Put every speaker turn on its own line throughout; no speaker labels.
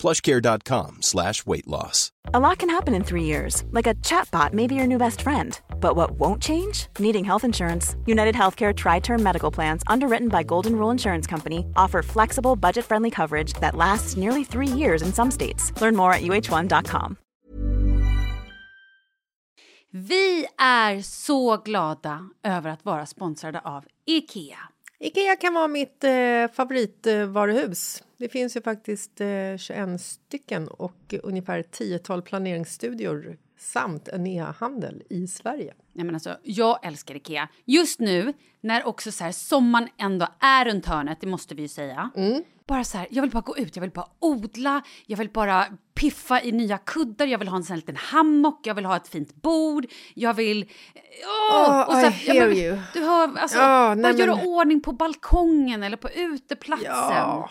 Plushcare.com slash weight loss.
A lot can happen in three years, like a chatbot may be your new best friend. But what won't change? Needing health insurance. United Healthcare Tri Term Medical Plans, underwritten by Golden Rule Insurance Company, offer flexible, budget friendly coverage that lasts nearly three years in some states. Learn more at uh1.com.
Vi är så glada över att vara sponsrade av Ikea.
Ikea kan vara mitt eh, favoritvaruhus. Det finns ju faktiskt eh, 21 stycken och ungefär 10-tal planeringsstudior samt en e-handel i Sverige.
Nej, men alltså, jag älskar Ikea. Just nu, när också så här, sommaren ändå är runt hörnet, det måste vi ju säga.
Mm.
Bara så här, jag vill bara gå ut, jag vill bara odla, jag vill bara piffa i nya kuddar, jag vill ha en sån här liten hammock, jag vill ha ett fint bord, jag vill... Åh!
Oh, I
så här, ja,
hear
men,
you.
Du hör, alltså,
Ja,
bara
nej, men-
göra ordning på balkongen eller på uteplatsen.
Ja,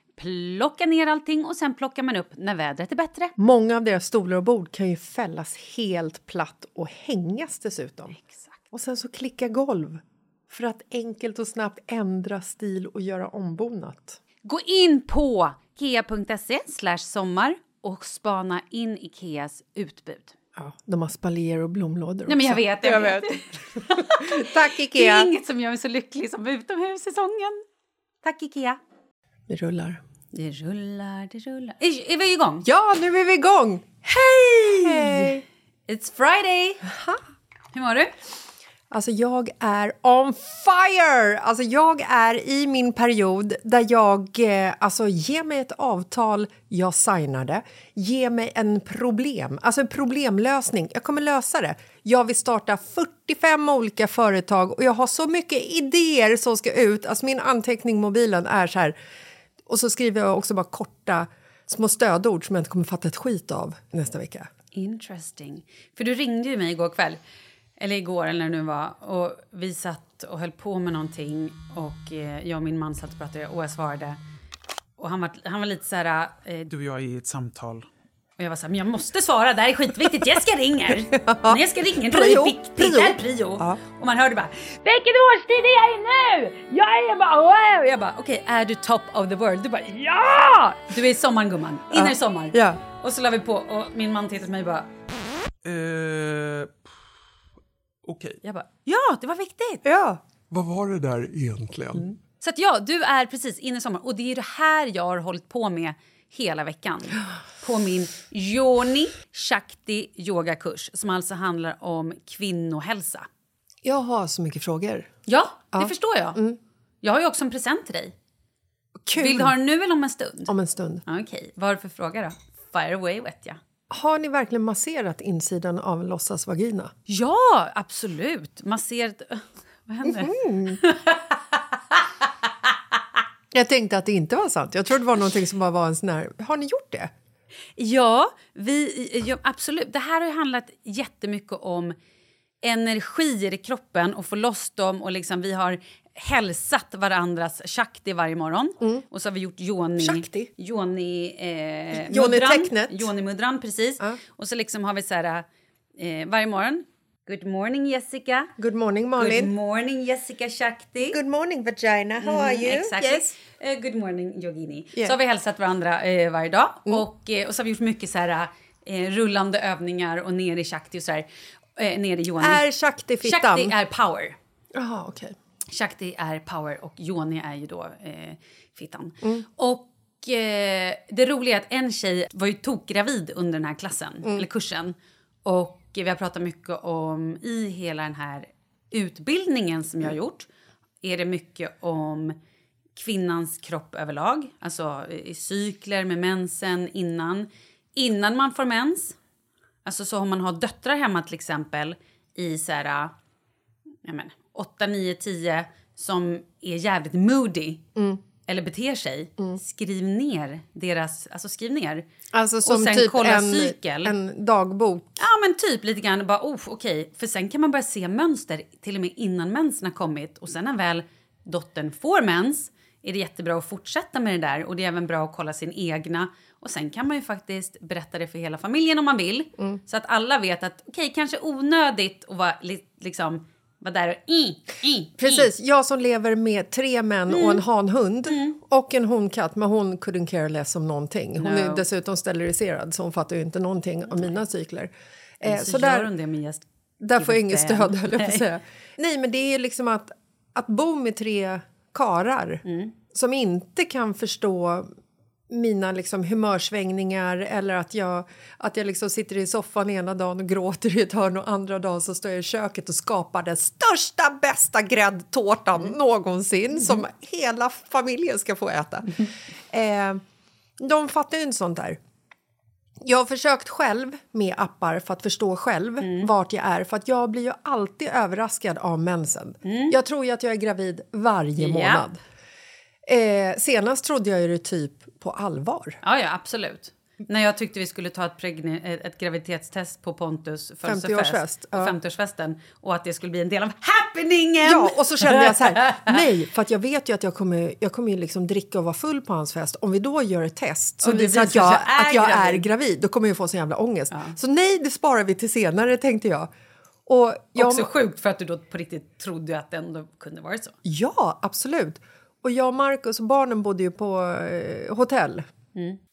plocka ner allting och sen plockar man upp när vädret är bättre.
Många av deras stolar och bord kan ju fällas helt platt och hängas dessutom.
Exakt.
Och sen så klicka golv för att enkelt och snabbt ändra stil och göra ombonat.
Gå in på ikea.se slash sommar och spana in Ikeas utbud.
Ja, de har spaljer och blomlådor
Nej men jag
också.
vet, jag, vet.
Tack,
Det är
Ikea!
inget som gör mig så lycklig som utomhussäsongen. Tack Ikea.
Vi rullar.
Det rullar, det rullar. Är, är vi igång?
Ja, nu är vi igång! Hej! Hej!
It's Friday! Hur mår du?
Alltså, jag är on fire! Alltså, jag är i min period där jag... Eh, alltså, ge mig ett avtal, jag signar det. Ge mig en problem, alltså en problemlösning. Jag kommer lösa det. Jag vill starta 45 olika företag och jag har så mycket idéer som ska ut. Alltså, min anteckning i mobilen är så här... Och så skriver jag också bara korta små stödord som jag inte kommer fatta ett skit av nästa vecka.
Interesting. För du ringde ju mig igår kväll, eller igår eller när det nu var, och vi satt och höll på med någonting och eh, jag och min man satt och pratade och jag svarade. Och han var, han var lite så här, eh,
Du och jag är i ett samtal.
och jag var så här, men jag måste svara, det här är skitviktigt, Jessica ringer. När Jessica ringer, då är
Prio,
det viktigt,
prio.
det är prio.
Ja.
Och man hörde bara, vilken årstid är jag i nu? Jag är bara, wow! Jag bara, okej, är du top of the world? Du bara, ja! Du är i sommaren gumman, in i sommar.
Ja.
Och så la vi på och min man tittade på mig och bara,
Eh, Okej,
jag bara, ja, det var viktigt.
Ja.
vad var det där egentligen?
Så att ja, du är precis inne i sommaren. Och det är det här jag har hållit på med hela veckan. På min Yoni Shakti yogakurs som alltså handlar om kvinnohälsa.
Jag har så mycket frågor.
Ja, Mm. det förstår jag. Jag har ju också en present till dig.
Kul!
Vill du ha den nu eller om en stund?
Om en stund.
Okej, vad har du för fråga då? Fire away vet jag.
Har ni verkligen masserat insidan av en låtsasvagina?
Ja, absolut. Mhm. Man ser... Vad händer?
Jag tänkte att det inte var sant. Jag trodde det var någonting som bara var en sån här... Har ni gjort det?
Ja, vi, ja, absolut. Det här har ju handlat jättemycket om energier i kroppen och få loss dem och liksom vi har hälsat varandras shakti varje morgon. Och så har vi gjort yoni...
Mm. Shakti?
Yoni... Eh,
Yoni-tecknet.
Yoni-mudran, precis. Och så liksom har vi så här eh, varje morgon. Good morning Jessica.
Good morning, Malin.
Good morning Jessica Shakti.
Good morning vagina, how are you?
Mm, Exactly.
Yes.
Eh, good morning Yogini.
Yeah. Mm.
Så har vi hälsat varandra eh, varje dag och, eh, och så har vi gjort mycket så här, eh, rullande övningar och ner i Shakti och så här, eh, ner i Yoni.
Är Shakti fittan?
Shakti är power.
Jaha, okej.
Shakti är power och Yoni är ju då eh, fittan. Och eh, det roliga är att en tjej var ju tokgravid under den här klassen, eller kursen. Och vi har pratat mycket om, i hela den här utbildningen som jag har gjort, är det mycket om kvinnans kropp överlag. Alltså eh, i cykler med mensen innan. Innan man får mens. Alltså så om man har döttrar hemma till exempel i så här äh, ja, men, 8, 9, 10 som är jävligt moody
Mm.
eller beter sig, skriv ner deras... Alltså skriv ner.
Alltså som
och sen
typ
kolla
en,
cykel.
en dagbok.
Ja, men typ lite grann. Bara, oh, okej. För sen kan man börja se mönster till och med innan mensen har kommit. Och sen när väl dottern får mens är det jättebra att fortsätta med det där. Och det är även bra att kolla sin egna. Och sen kan man ju faktiskt berätta det för hela familjen om man vill.
Mm.
Så att alla vet att okej, kanske onödigt att vara li- liksom vara där och... i, i,
Precis, jag som lever med tre män
Mm.
och en hanhund och en honkatt, men hon couldn't care less om någonting. Hon är
No.
dessutom steriliserad så hon fattar ju inte någonting av mina cykler. Eh,
Så,
så
gör
där,
hon det med gäst.
där får jag inget
inte
stöd
än.
höll jag på att säga. Nej men det är ju liksom att, att bo med tre karar som inte kan förstå mina liksom humörsvängningar eller att jag, att jag liksom sitter i soffan ena dagen och gråter i ett hörn och andra dagen så står jag i köket och skapar den största bästa gräddtårtan någonsin som hela familjen ska få äta. Eh, de fattar ju inte sånt där. Jag har försökt själv med appar för att förstå själv
Mm.
vart jag är för att jag blir ju alltid överraskad av mensen. Jag tror ju att jag är gravid varje
Mm. Ja.
månad. Eh, senast trodde jag ju det typ på allvar.
Ja, ja, absolut. När jag tyckte vi skulle ta ett, pregne- ett- ett graviditetstest på Pontus
50-årsfest, ja.
50-årsfesten och att det skulle bli en del av happeningen!
Ja, och så kände jag så här, nej, för att jag vet ju att jag kommer, jag kommer ju liksom dricka och vara full på hans fest. Om vi då gör ett test som
Om det
visar att
visar
jag,
sig att jag är
att jag är
gravid.
gravid, då kommer jag få sån jävla ångest. Så nej, det sparar vi till senare, tänkte jag. Och jag
Också sjukt för att du då på riktigt trodde att det ändå kunde vara så.
Ja, absolut. Och jag och Markus och barnen bodde ju på eh, hotell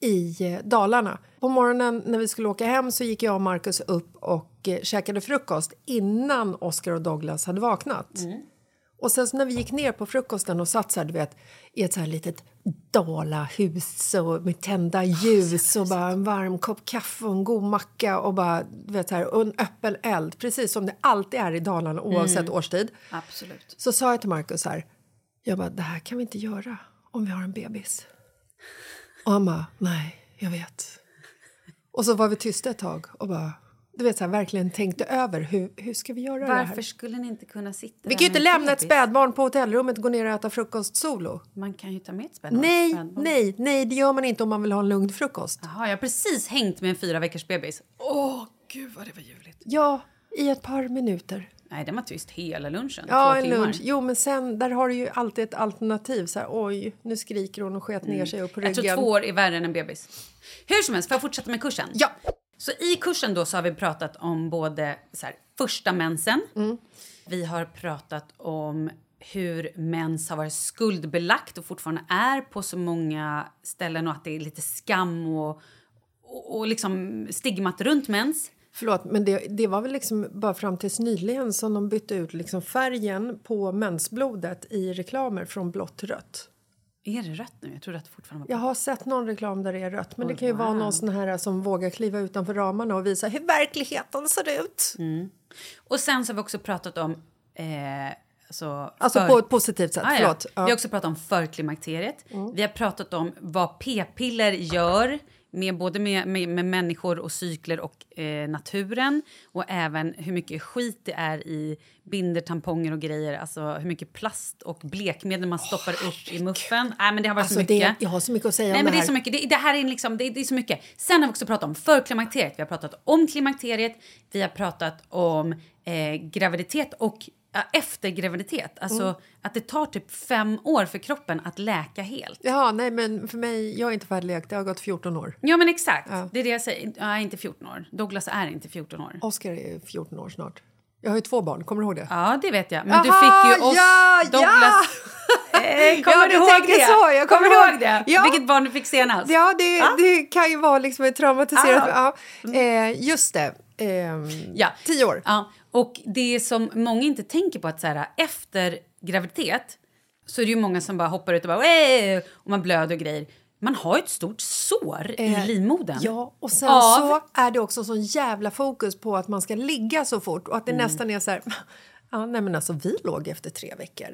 i eh, Dalarna. På morgonen när vi skulle åka hem så gick jag och Markus upp och eh, käkade frukost innan Oscar och Douglas hade vaknat. Och sen så när vi gick ner på frukosten och satt så här, du vet, i ett så här litet dalahus och med tända ljus och bara en varm kopp kaffe och en god macka och bara, du vet, så här, och en öppen eld, precis som det alltid är i Dalarna oavsett årstid.
Absolut.
Så sa jag till Markus så här, jag bara, det här kan vi inte göra om vi har en bebis. Och han bara, nej, jag vet. Och så var vi tysta ett tag och bara, du vet så här, verkligen tänkte över hur, hur ska vi göra det
Varför
här?
skulle ni inte kunna sitta
Vi
där
kan ju inte
med en
lämna ett
bebis?
spädbarn på hotellrummet och gå ner och äta frukost solo.
Man kan ju ta med ett spädbarn.
Nej,
Spädbarn.
nej, nej, det gör man inte om man vill ha en lugn frukost.
Jaha, jag har precis hängt med en fyra veckors bebis. Åh, gud vad det var ljuvligt.
Ja, i ett par minuter.
Nej, den var tyst hela lunchen.
Ja,
två
en
timmar.
lunch. Jo, men sen, där har du ju alltid ett alternativ. Så här, oj, nu skriker hon och sket ner sig upp på
Jag
ryggen.
tror Mm. två år är värre än en bebis. Hur som helst, får jag fortsätta med kursen?
Ja.
Så i kursen då så har vi pratat om både så här, första mensen. Vi har pratat om hur mens har varit skuldbelagt och fortfarande är på så många ställen och att det är lite skam och, och, och liksom stigmat runt mens.
Förlåt, men det, det var väl liksom bara fram tills nyligen som de bytte ut liksom färgen på mensblodet i reklamer från blått till rött.
Är det rött nu? Jag trodde att det fortfarande var
Jag har sett någon reklam där det är rött, men det kan ju vara någon sån här som vågar kliva utanför ramarna och visa hur verkligheten ser ut.
Mm. Och sen så har vi också pratat om... Eh, alltså
Alltså
för-
på ett positivt sätt,
Ah, ja.
förlåt.
Vi har
Ja. Mm.
också pratat om förklimakteriet. Vi har pratat om vad p-piller gör med både med, med, med människor och cykler och eh, naturen och även hur mycket skit det är i binder, tamponger och grejer. Alltså hur mycket plast och blekmedel man stoppar upp i muffen. Nej, men det har varit så
Alltså,
mycket.
det, jag har så mycket att säga
Nej,
om
men det
det
är så mycket. Det, det här är liksom, det, det är så mycket. Sen har vi också pratat om förklimakteriet. Vi har pratat om klimakteriet. Vi har pratat om eh, graviditet och ja, efter graviditet. Alltså
Mm.
att det tar typ fem år för kroppen att läka helt.
Ja, nej men för mig, jag är inte färdiglekt, det har gått 14 år.
Ja, men exakt. Det är det jag säger. Jag är inte 14 år. Douglas är inte 14 år.
Oscar är 14 år snart. Jag har ju två barn, kommer du ihåg det?
Ja, det vet jag. Men du
Aha,
fick ju oss,
ja, ja!
Douglas... Eh, kommer
Ja,
du
du
ihåg
tänker
det?
så, jag
kommer
kommer
du ihåg
ihåg.
det?
Ja.
Vilket barn du fick senast?
Ja, det, det kan ju vara liksom ett traumatiserat...
Ah.
Ja. Eh, just det. Ehm,
Ja.
Tio år.
Ja. Och det som många inte tänker på att så här, efter graviditet så är det ju många som bara hoppar ut och bara "Ey!" och man blöder och grejer. Man har ju ett stort sår i livmodern.
Eh, Ja, och sen
Av-
så är det också sån jävla fokus på att man ska ligga så fort och att det
Mm.
nästan är så här... Ja, nej men alltså vi låg efter tre veckor.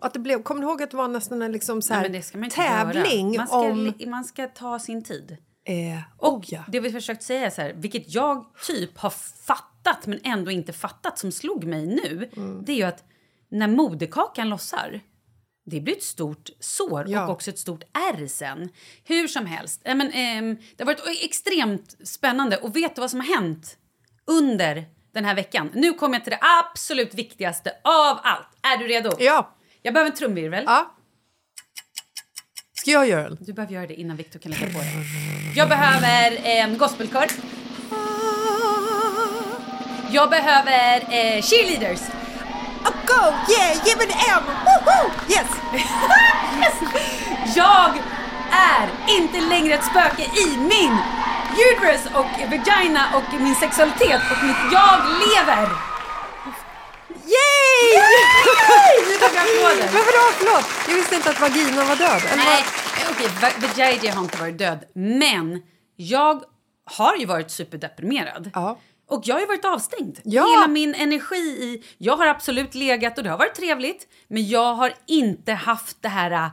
Att det blev, kommer du ihåg att det var nästan en liksom så
Mm. Nej,
här
men det ska man inte
tävling
göra. Man ska,
om...
li- man ska ta sin tid.
Eh,
Och
oh, ja.
det vi försökt säga är så här, vilket jag typ har fattat men ändå inte fattat som slog mig nu,
Mm.
det är ju att när moderkakan lossar, det blir ett stort sår
Ja.
och också ett stort ärr sen. Hur som helst, äh, men, ehm, det har varit extremt spännande och vet du vad som har hänt under den här veckan? Nu kommer jag till det absolut viktigaste av allt. Är du redo?
ja.
Jag behöver en trumvirvel.
Ja. Ska jag göra den?
Du behöver göra det innan Victor kan lägga på det. Jag behöver en gospelkör. Jag behöver eh, cheerleaders.
Oh, Go! Yeah! Ge mig en M! Woho! Yes!
Jag är inte längre ett spöke i min uterus och vagina och min sexualitet och mitt jag lever.
Yay!
Nu tar vi applåder.
Men vadå, förlåt? Jag visste inte att vaginan var död. Eller
Nej,
vad-
okej, va- Vijay har inte varit död. Men jag har ju varit superdeprimerad.
Ja.
Och jag har ju varit avstängd.
Ja.
Hela min energi i... Jag har absolut legat och det har varit trevligt. Men jag har inte haft det här äh,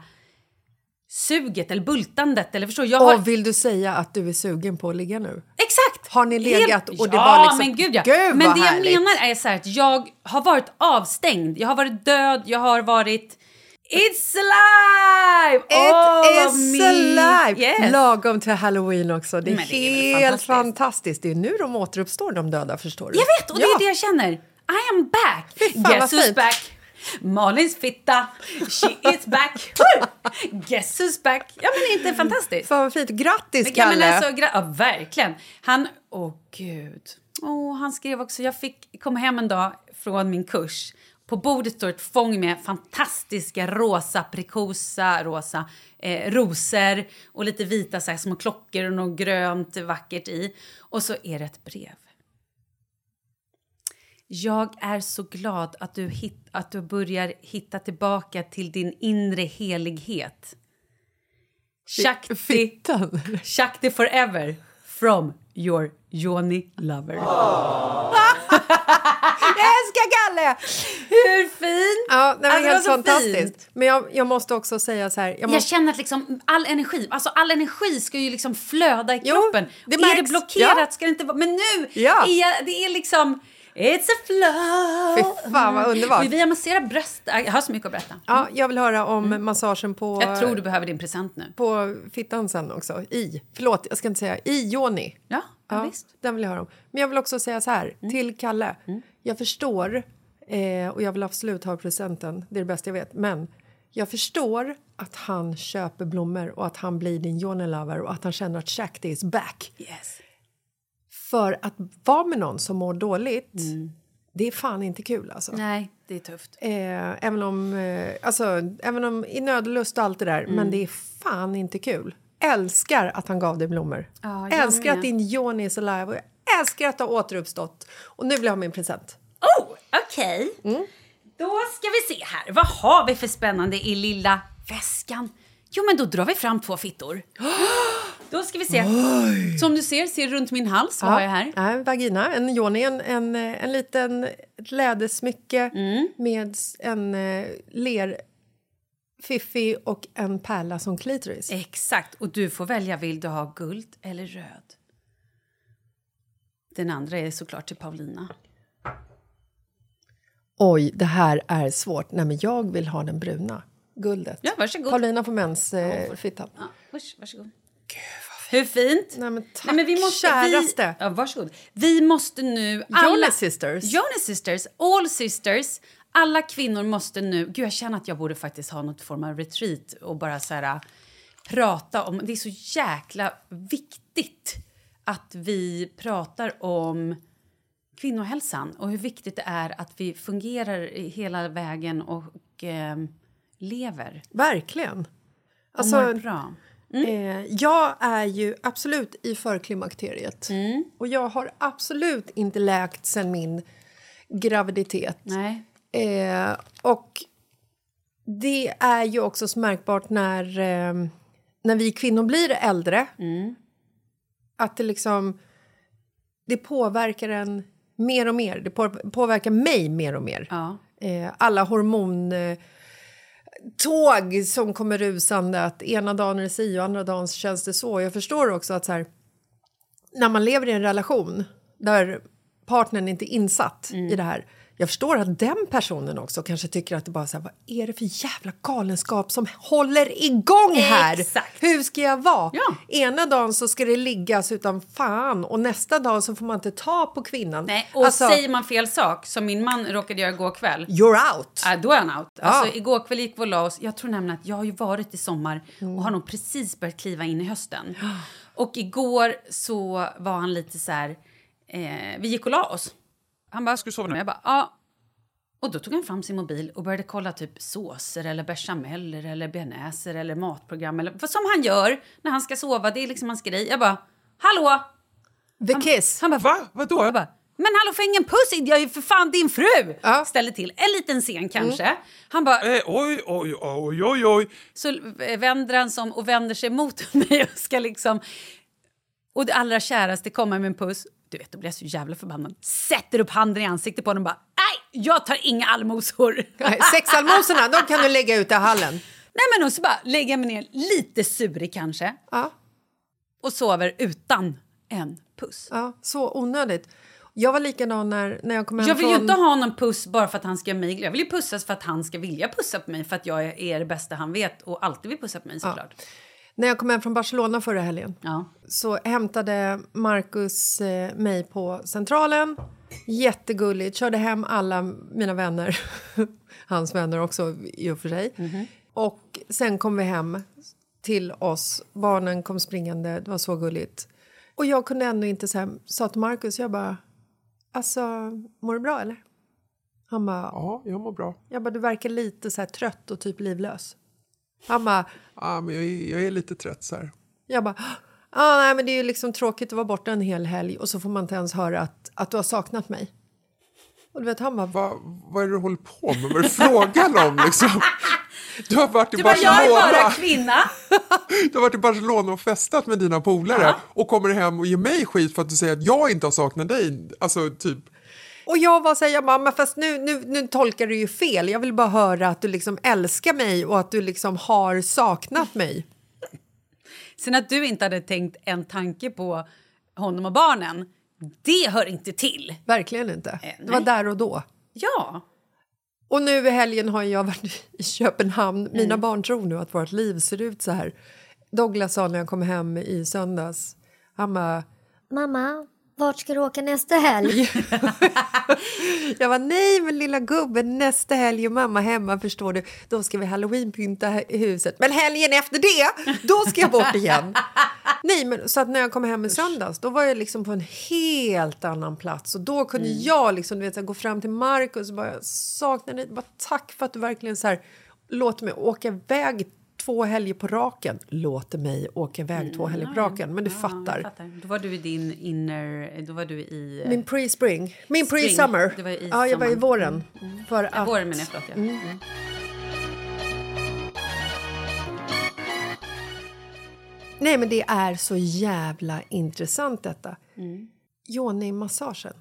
suget eller bultandet. Eller förstår, du? jag har,
Och vill du säga att du är sugen på att ligga nu?
Exakt!
Har ni legat
Helt-
och det
ja,
var liksom-
men gud ja.
Gud, vad
men det
härligt.
jag menar är så här att jag har varit avstängd. Jag har varit död, jag har varit... It's alive!
It
All of
is
me.
alive!
Yes.
Lagom till halloween också. Det är,
Men det är väl
helt
fantastiskt.
fantastiskt. Det är nu de återuppstår, de döda, förstår du.
Jag vet, och det är det
Ja.
jag känner. I am back!
fan,
Guess
vad
who's
fint.
back? Malins fitta, she is back! Hur? Guess who's back? Ja, men det är inte fantastiskt?
Fan vad fint. Grattis,
Ja, men
Kalle!
alltså, gra- ja, verkligen. Han... Åh, gud. Åh, han skrev också... Jag fick kom hem en dag från min kurs. På bordet står ett fång med fantastiska rosa, aprikosa, rosa eh, rosor och lite vita så här, små klockor och något grönt vackert i. Och så är det ett brev. Jag är så glad att du, hitt- att du börjar hitta tillbaka till din inre helighet. Shakti
Fittan.
Shakti forever from your Johnny lover.
Jag älskar Kalle!
Hur fint!
Ja, nej,
Alltså,
men
det
helt
var så
fantastiskt.
fint.
Men jag, jag måste också säga så här... Jag
Jag
måste,
känner att liksom all energi, alltså all energi ska ju liksom flöda i
Jo,
kroppen.
det
är det
märks.
blockerat
Ja.
ska det inte vara, men nu
Ja.
är jag, det är liksom It's a flow!
Fy fan, vad underbart.
Vi har masserat bröst. Jag har så mycket att berätta.
ja, jag vill höra om massagen på...
Mm. Jag tror du behöver din present nu.
på fittan sen också. I. Förlåt, jag ska inte säga i Joni.
Ja, ja, visst. Mm.
Den vill jag höra om. Men jag vill också säga så här till Kalle. Jag förstår eh, och jag vill absolut ha presenten. Det är det bästa jag vet. Men jag förstår att han köper blommor och att han blir din Joni lover och att han känner att Shakti is back.
Yes.
För att vara med någon som mår dåligt, det är fan inte kul alltså.
Mm. Nej, det är tufft.
Eh, även, om, eh, alltså, även om i nödlust och allt det där,
Mm.
men det är fan inte kul. Älskar att han gav dig blommor.
Ja, jag
älskar
med.
att din Joni is alive och jag älskar att du har återuppstått. Och nu vill jag ha min present.
Oh, okej.
Mm.
Då ska vi se här. Vad har vi för spännande i lilla väskan? Jo, men då drar vi fram två fittor. Då ska vi se. Som du ser, ser runt min hals. Vad har jag här?
Ja, en vagina, en Joni, en, en, eh, en
Mm.
liten ett lädersmycke med s- en eh, ler... fiffi och en pärla som klitoris.
Exakt. Och du får välja, vill du ha guld eller röd? Den andra är såklart till Paulina.
Oj, det här är svårt. Nej, men jag vill ha den bruna. Guldet.
Ja, varsågod.
Paulina får mens eh, fittan.
Ja, vars, varsågod. Hur fint!
Nej, men tack, käraste.
Vi, ja, varsågod. Vi måste nu...
Jonas Sisters.
Jonas Sisters, All Sisters. Alla kvinnor måste nu... Gud, jag känner att jag borde faktiskt ha något form av retreat och bara så här, äh, prata om... Det är så jäkla viktigt att vi pratar om kvinnohälsan och hur viktigt det är att vi fungerar i hela vägen och ehm, lever.
Verkligen.
Och
Alltså,
mår bra.
Eh, jag är ju absolut i förklimakteriet. Och jag har absolut inte läkt sen min graviditet.
Nej.
Eh, och det är ju också så märkbart när, eh, när vi kvinnor blir äldre. Att det liksom... Det påverkar en mer och mer. Det på- påverkar mig mer och mer.
Ja.
Eh, alla hormon... Eh, tåg som kommer rusande. Att ena dagen är det si och andra dagen så känns det så. Jag förstår också att så här, när man lever i en relation där partnern inte är insatt
Mm.
i det här. Jag förstår att den personen också kanske tycker att det bara så här, vad är det för jävla galenskap som håller igång här?
Exakt.
Hur ska jag vara?
Ja.
Ena dagen så ska det liggas utan fan och nästa dag så får man inte ta på kvinnan.
Nej, och
Alltså,
säger man fel sak, som min man råkade göra igår kväll,
You're out!
ja, Ah, då är han out. Alltså, igår kväll gick vi och la oss. Jag tror nämligen att jag har ju varit i sommar och har nog precis börjat kliva in i hösten. Och igår så var han lite så här... Eh, vi gick och la oss. Han bara, ska du sova nu? Jag bara, ja. Och då tog han fram sin mobil och började kolla typ såser eller bechameller eller bearnaiser eller matprogram eller vad som han gör när han ska sova. Det är liksom hans grej. Jag bara, hallå!
The kiss!
Han bara,
Va? Vadå?
jag bara, men hallå får jag ingen puss? Jag är ju för fan din fru!
Ja.
Ställer till en liten scen kanske. Han bara,
Eh, oj, oj, oj, oj, oj.
så eh, vänder han sig om och vänder sig mot mig och ska liksom... Och det allra käraste kommer med en puss. Du vet, då blir jag så jävla förbannad. Sätter upp handen i ansiktet på honom och bara, nej, jag tar inga allmosor.
Nej, Sexallmosorna, de kan du lägga ut i hallen.
nej men och så bara lägger jag mig ner, lite surig kanske,
Ja.
och sover utan en puss.
Ja, så onödigt. Jag var likadan när, när jag kom hem
Jag vill ju
från...
inte ha någon puss bara för att han ska göra mig glad. Jag vill ju pussas för att han ska vilja pussa på mig för att jag är det bästa han vet och alltid vill pussa på mig såklart.
När jag kom hem från Barcelona förra helgen
Ja.
så hämtade Marcus eh, mig på Centralen. Jättegulligt. Körde hem alla mina vänner. Hans vänner också i och för sig. Och sen kom vi hem till oss. Barnen kom springande. Det var så gulligt. Och jag kunde ändå inte säga, sa till Marcus, jag bara, alltså mår du bra eller? Han bara,
Ja, jag mår bra.
Jag bara, du verkar lite så här trött och typ livlös. Han bara,
Ah, men jag, är- jag är lite trött så här.
jag bara, ah, nej men det är ju liksom tråkigt att vara borta en hel helg och så får man inte ens höra att, att du har saknat mig. Och du vet, han bara, "Va?"
Va, vad är det du håller på med? Vad är det frågan om liksom? Du har varit i
Du bara, jag är bara
Barcelona.
kvinna.
Du har varit i Barcelona och festat med dina polare och kommer hem och ger mig skit för att du säger att jag inte har saknat dig. Alltså typ,
och jag var så här, jag bara, men fast nu, nu, nu tolkar du ju fel. Jag vill bara höra att du liksom älskar mig och att du liksom har saknat mig.
Sen att du inte hade tänkt en tanke på honom och barnen, det hör inte till.
Verkligen inte. Det var
nej.
där och då.
Ja.
Och nu i helgen har jag varit i Köpenhamn. Mina barn tror nu att vårt liv ser ut så här. Douglas sa när jag kom hem i söndags, han bara...
Mamma, vart ska du åka nästa helg?
Jag var nej men lilla gubben, nästa helg är mamma hemma förstår du. Då ska vi halloweenpynta hu- huset. Men helgen efter det, då ska jag bort igen. nej men så att när jag kom hem i söndags, då var jag liksom på en helt annan plats. Och då kunde
Mm.
jag liksom, du vet, så här, gå fram till Markus och bara jag saknar dig. Bara tack för att du verkligen så här, låter mig åka iväg två helger på raken. Låter mig åka iväg två helger på raken. Men du
Jag
fattar.
fattar. Då var du i din inner... Då var du i...
Min pre-spring. Min
Spring.
pre-summer.
Det var i
ja, jag var i
sommaren.
våren. För att,
Vår menar jag, förlåt. Ja. Mm.
Nej, men det är så jävla intressant detta.
Mm.
Yoni-massagen.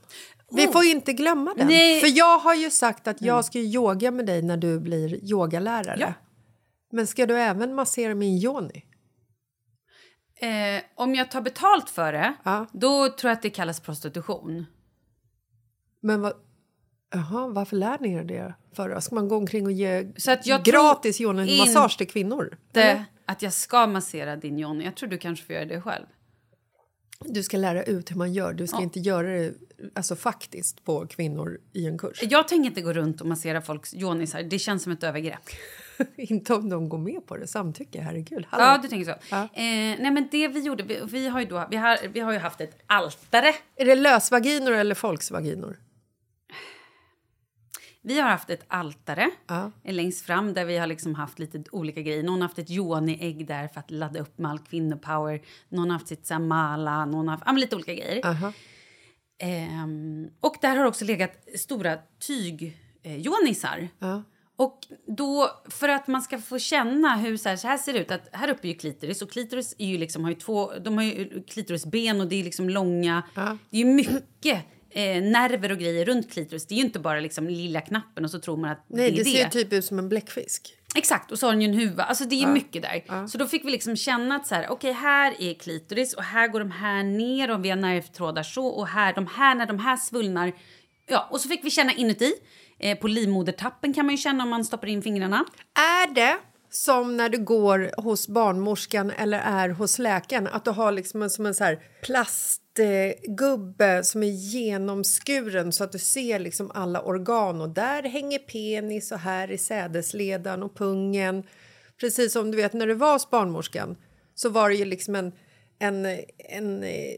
Vi får ju inte glömma den.
Oh. Nej. Mm.
För jag har ju sagt att jag ska ju yoga med dig när du blir yogalärare.
Ja.
Men ska du även massera min Johnny?
Eh, om jag tar betalt för det,
Ja.
då tror jag att det kallas prostitution.
Men vad... Jaha, varför lär ni er det för? då? Ska man gå omkring och ge
Så att jag
gratis
tror
Johnny-massage till kvinnor?
Inte att jag ska massera din Johnny. Jag tror du kanske får göra det själv.
Du ska lära ut hur man gör. Du ska inte göra det alltså, faktiskt på kvinnor i en kurs.
Jag tänker inte gå runt och massera folks Johnnysar. Det känns som ett övergrepp.
inte om de går med på det. Samtycke, herregud. Hallå.
Ja, du tänker så.
Ja.
Eh, nej, men det vi gjorde... Vi, vi, har ju då, vi, har, vi har ju haft ett altare.
Är det lösvaginor eller folksvaginor?
Vi har haft ett altare
Ja.
längst fram där vi har liksom haft lite olika grejer. Någon har haft ett Johnny-ägg där för att ladda upp med all kvinnopower. Någon har haft sitt samala, någon har haft ja, men lite olika grejer.
Aha.
Ehm, och där har också legat stora tyg-jonisar.
Ja.
Och då, för att man ska få känna hur så här, så här ser det ut, att här uppe är ju klitoris och klitoris är ju liksom, har ju två, de har ju klitorisben och det är liksom långa, det är ju mycket eh, nerver och grejer runt klitoris. Det är ju inte bara liksom lilla knappen och så tror man att
Nej,
det
det,
är det.
ser ju typ ut som en bläckfisk.
Exakt, och så har den ju en huva. Alltså det är mycket där. Så då fick vi liksom känna att så här, okej här är klitoris och här går de här ner och vi har nervtrådar så och här, de här, när de här svullnar. Ja, och så fick vi känna inuti. Eh, på livmodertappen kan man ju känna om man stoppar in fingrarna.
Är det som när du går hos barnmorskan eller är hos läkaren att du har liksom en, som en så här plastgubbe som är genomskuren så att du ser liksom alla organ och där hänger penis och här i sädesledan och pungen. Precis som du vet när du var hos barnmorskan så var det ju liksom en en, en eh,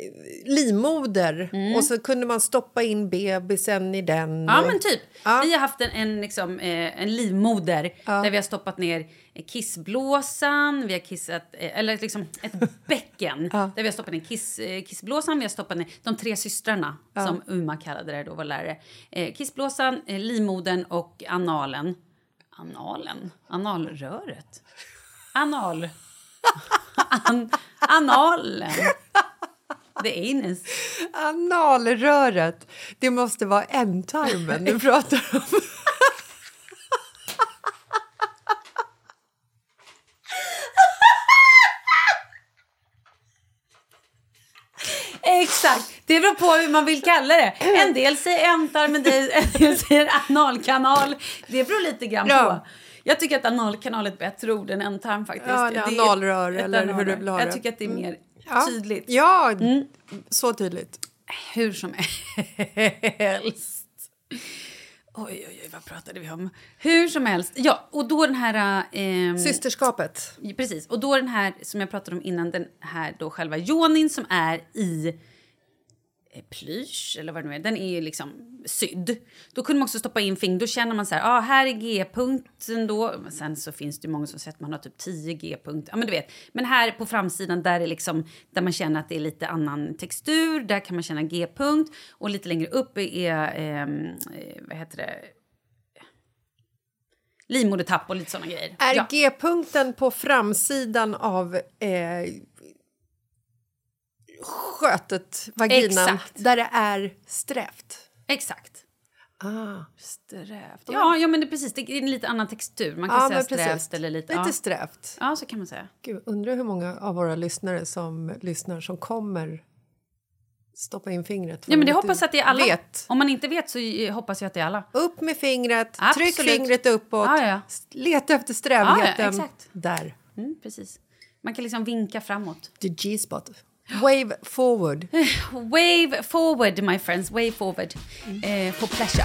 livmoder och så kunde man stoppa in bebisen i den.
Mm. Ja,
och-
men typ.
Ja.
Vi har haft en, en, liksom, eh, en livmoder där vi har stoppat ner eh, kissblåsan, vi har kissat, eh, eller liksom ett bäcken där vi har stoppat ner kiss, eh, kissblåsan, vi har stoppat ner de tre systrarna som Uma kallade det då, vår lärare. Eh, Kissblåsan, eh, livmodern och analen. Analen? Analröret? Anal. An, analen. Det är Ines.
Analröret. Det måste vara ändtarmen du pratar om.
Exakt. Det beror på hur man vill kalla det. En del säger ändtarmen, det- en del säger analkanal. Det beror lite grann
Ja.
på. Jag tycker att analkanal är ett bättre ord än ändtarm faktiskt.
Ja, det är
ett-
analrör
ett
eller hur
analrör.
du vill ha
Jag
det. Mm.
tycker att det är mer tydligt. Mm.
Ja, så tydligt.
Hur som helst. Oj, oj, oj, vad pratade vi om? Hur som helst. Ja, och då den här... ehm,
Systerskapet.
Ja, Precis. Och då den här som jag pratade om innan, den här då själva jonin som är i eh, plysch eller vad det nu är, den är ju liksom sydd. Då kunde man också stoppa in fing. Då känner man så här, ah, här är G-punkten då. Men sen så finns det ju många som säger att man har typ 10 G-punkter. Ja, men du vet. Men här på framsidan där är liksom där man känner att det är lite annan textur. Där kan man känna G-punkt och lite längre upp är ehm, eh, vad heter det? Livmodertapp och lite såna grejer.
Är
Ja.
G-punkten på framsidan av eh, skötet, vaginan,
Exakt.
där det är strävt?
Exakt.
Ah,
Strävt. Ja, ja men det, precis. Det är en lite annan textur. Man kan
Typ, ja,
säga
men precis.
strävt eller lite...
lite
ja.
strävt.
ja, så kan man säga.
Gud, undrar hur många av våra lyssnare som lyssnar som kommer stoppa in fingret.
Ja, men det
Inte
hoppas jag att det är alla.
Vet.
Om man inte vet så eh, hoppas jag att det är alla.
Upp med fingret,
Absolut.
tryck fingret uppåt.
Ja, ja.
s- Leta efter strävheten.
Ja, ja, exakt.
Där.
Mm, precis. Man kan liksom vinka framåt.
The G-spot. Wave forward.
Wave forward, my friends. Wave forward.
Mm.
Eh, på pleasure.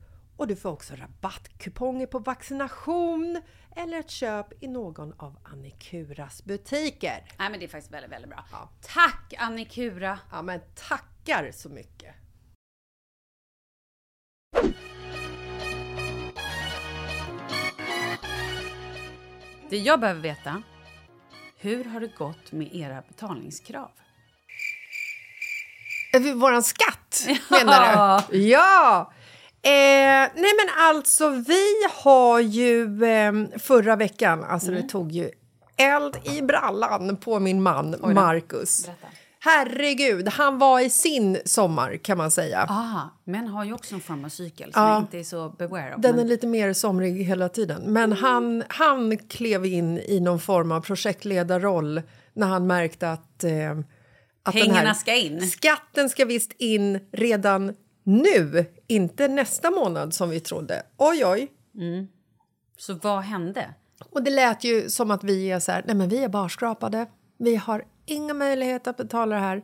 Och du får också rabattkuponger på vaccination eller ett köp i någon av Annikuras butiker.
Nej men det är faktiskt väldigt, väldigt bra. Tack Annikura!
Ja men tackar så mycket!
Det jag behöver veta, hur har det gått med era betalningskrav?
Eh, Våran skatt menar du? Ja! Eh, nej men alltså vi har ju eh, förra veckan, alltså det tog ju eld i brallan på min man Marcus. Herregud, han var i sin sommar kan man säga.
Ah, män har ju också en form av cykel som jag inte är så beware of.
Den är
men-
lite mer somrig hela tiden. Men han, han klev in i någon form av projektledarroll när han märkte att... Eh, att den
Pengarna ska in.
Skatten ska visst in redan nu, inte nästa månad som vi trodde. Oj, oj.
Så vad hände?
Och det lät ju som att vi är så här, nej men vi är barskrapade. Vi har inga möjligheter att betala det här.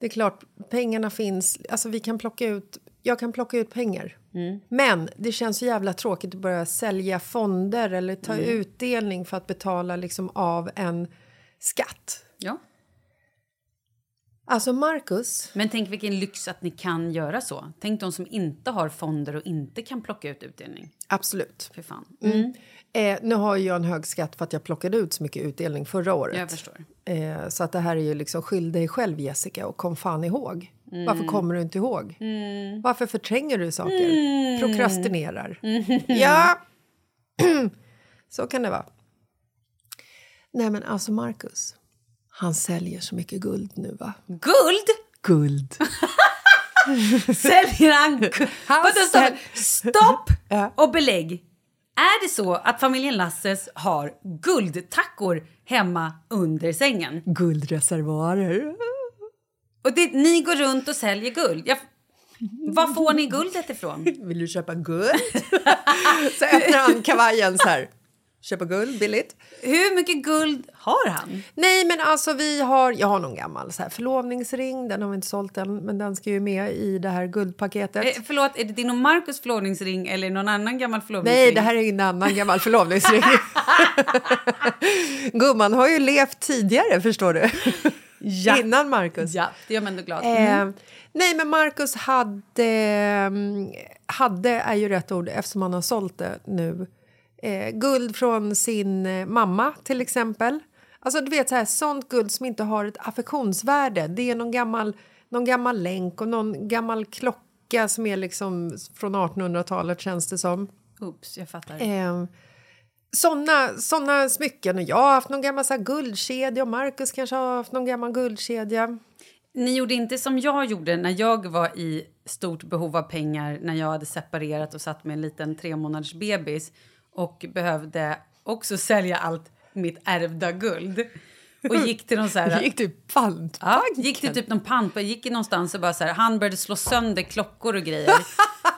Det är klart, pengarna finns. Alltså vi kan plocka ut, jag kan plocka ut pengar. Men det känns så jävla tråkigt att börja sälja fonder eller ta utdelning för att betala liksom av en skatt.
Ja.
Alltså Marcus,
Men tänk vilken lyx att ni kan göra så. Tänk de som inte har fonder och inte kan plocka ut utdelning.
absolut.
För fan.
Eh, nu har ju jag en hög skatt för att jag plockade ut så mycket utdelning förra året.
Jag förstår.
Eh, så att det här är ju liksom skyll dig själv Jessica och kom fan ihåg. Varför kommer du inte ihåg? Varför förtränger du saker? Prokrastinerar. Ja, så kan det vara. Nej men alltså Marcus, han säljer så mycket guld nu va?
Guld!
Guld.
Säljer han guld?
Han
Vadå, stopp?
säl-
Stopp
Ja.
och belägg! Är det så att familjen Lasses har guldtackor hemma under sängen?
Guldreservoarer.
Och det, ni går runt och säljer guld? Jag, var får ni guldet ifrån?
Vill du köpa guld? så öppnar han kavajen så här. Köpa guld billigt.
Hur mycket guld har han?
Nej, men alltså vi har, jag har någon gammal så här, förlovningsring. Den har vi inte sålt än, men den ska ju med i det här guldpaketet.
Eh, förlåt, är det din och Markus förlovningsring eller någon annan gammal förlovningsring?
Nej, det här är en annan gammal förlovningsring. Gumman har ju levt tidigare, förstår du. Innan Markus.
Ja, det gör mig ändå glad.
Eh, nej, men Marcus hade... mm, Hade är ju rätt ord eftersom han har sålt det nu. Eh, guld från sin eh, mamma, till exempel. Alltså du vet så här, Sånt guld som inte har ett affektionsvärde. Det är någon gammal, någon gammal länk och någon gammal klocka som är liksom från 1800-talet, känns det som.
Oops, jag fattar.
Eh, såna, såna smycken. Och jag har haft någon gammal så här, guldkedja och Marcus kanske har haft någon gammal guldkedja.
Ni gjorde inte som jag gjorde när jag var i stort behov av pengar när jag hade separerat och satt med en liten tre månaders bebis och behövde också sälja allt mitt ärvda guld. Och gick till någon så här...
Gick typ du pant?
Ja, gick till typ någon pant, jag gick någonstans och bara så här, han började slå sönder klockor och grejer.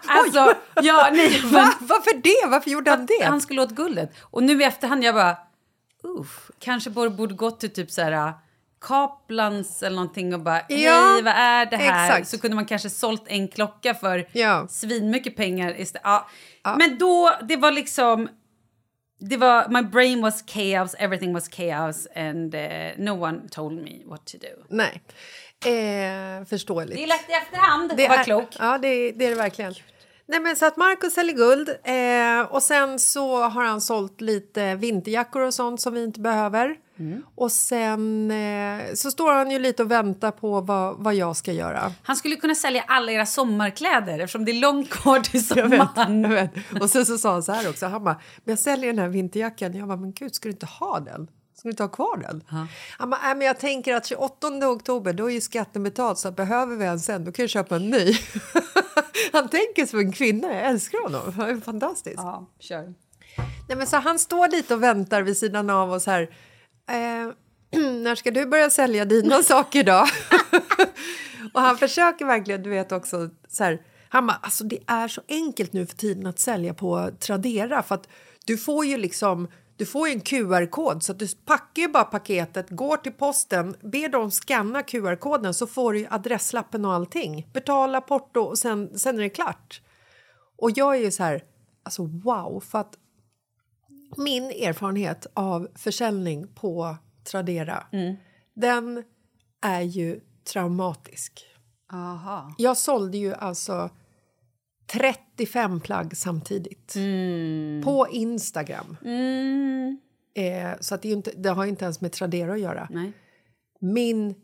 Alltså, ja, nej, men-
Va? Varför det? Varför gjorde han det?
Han skulle åt guldet. Och nu i efterhand jag bara, uff, kanske borde, borde gått till typ så här Kaplans eller någonting och bara, hej
Ja,
vad är det här?
exakt.
Så kunde man kanske sålt en klocka för
Ja.
svinmycket pengar istället. Ja. Men då, det var liksom, det var, my brain was chaos, everything was chaos and eh, no one told me what to do.
Nej. Eh, förståeligt.
Det är lätt i efterhand att vara
är-
klok.
Ja, det, är- det är det verkligen. Nej, men så att Marcus säljer guld eh, och sen så har han sålt lite vinterjackor och sånt som vi inte behöver.
Mm.
Och sen eh, så står han ju lite och väntar på vad, vad jag ska göra.
Han skulle kunna sälja alla era sommarkläder eftersom det är långt kvar till sommaren.
Jag vet. Och sen så sa han så här också, han bara, men jag säljer den här vinterjackan. Jag bara, men gud, ska du inte ha den? Ska du inte ha kvar den? Han bara, nej men jag tänker att 28 oktober, då är ju skatten betald så behöver vi en sen, då kan jag köpa en ny. han tänker som en kvinna, jag älskar honom, han är fantastisk.
Ja, kör.
Nej, men så han står lite och väntar vid sidan av oss här. Eh, när ska du börja sälja dina saker då? och han försöker verkligen, du vet också så här. Han bara, alltså det är så enkelt nu för tiden att sälja på Tradera för att du får ju liksom du får ju en QR-kod så att du packar ju bara paketet, går till posten, ber dem scanna QR-koden så får du ju adresslappen och allting. Betala porto och sen, sen är det klart. Och jag är ju så här, alltså wow, för att min erfarenhet av försäljning på Tradera
Mm.
den är ju traumatisk.
Aha.
Jag sålde ju alltså 35 plagg samtidigt
Mm.
på Instagram. Eh, så att det, är ju inte, det har ju inte ens med Tradera att göra.
Nej.
Min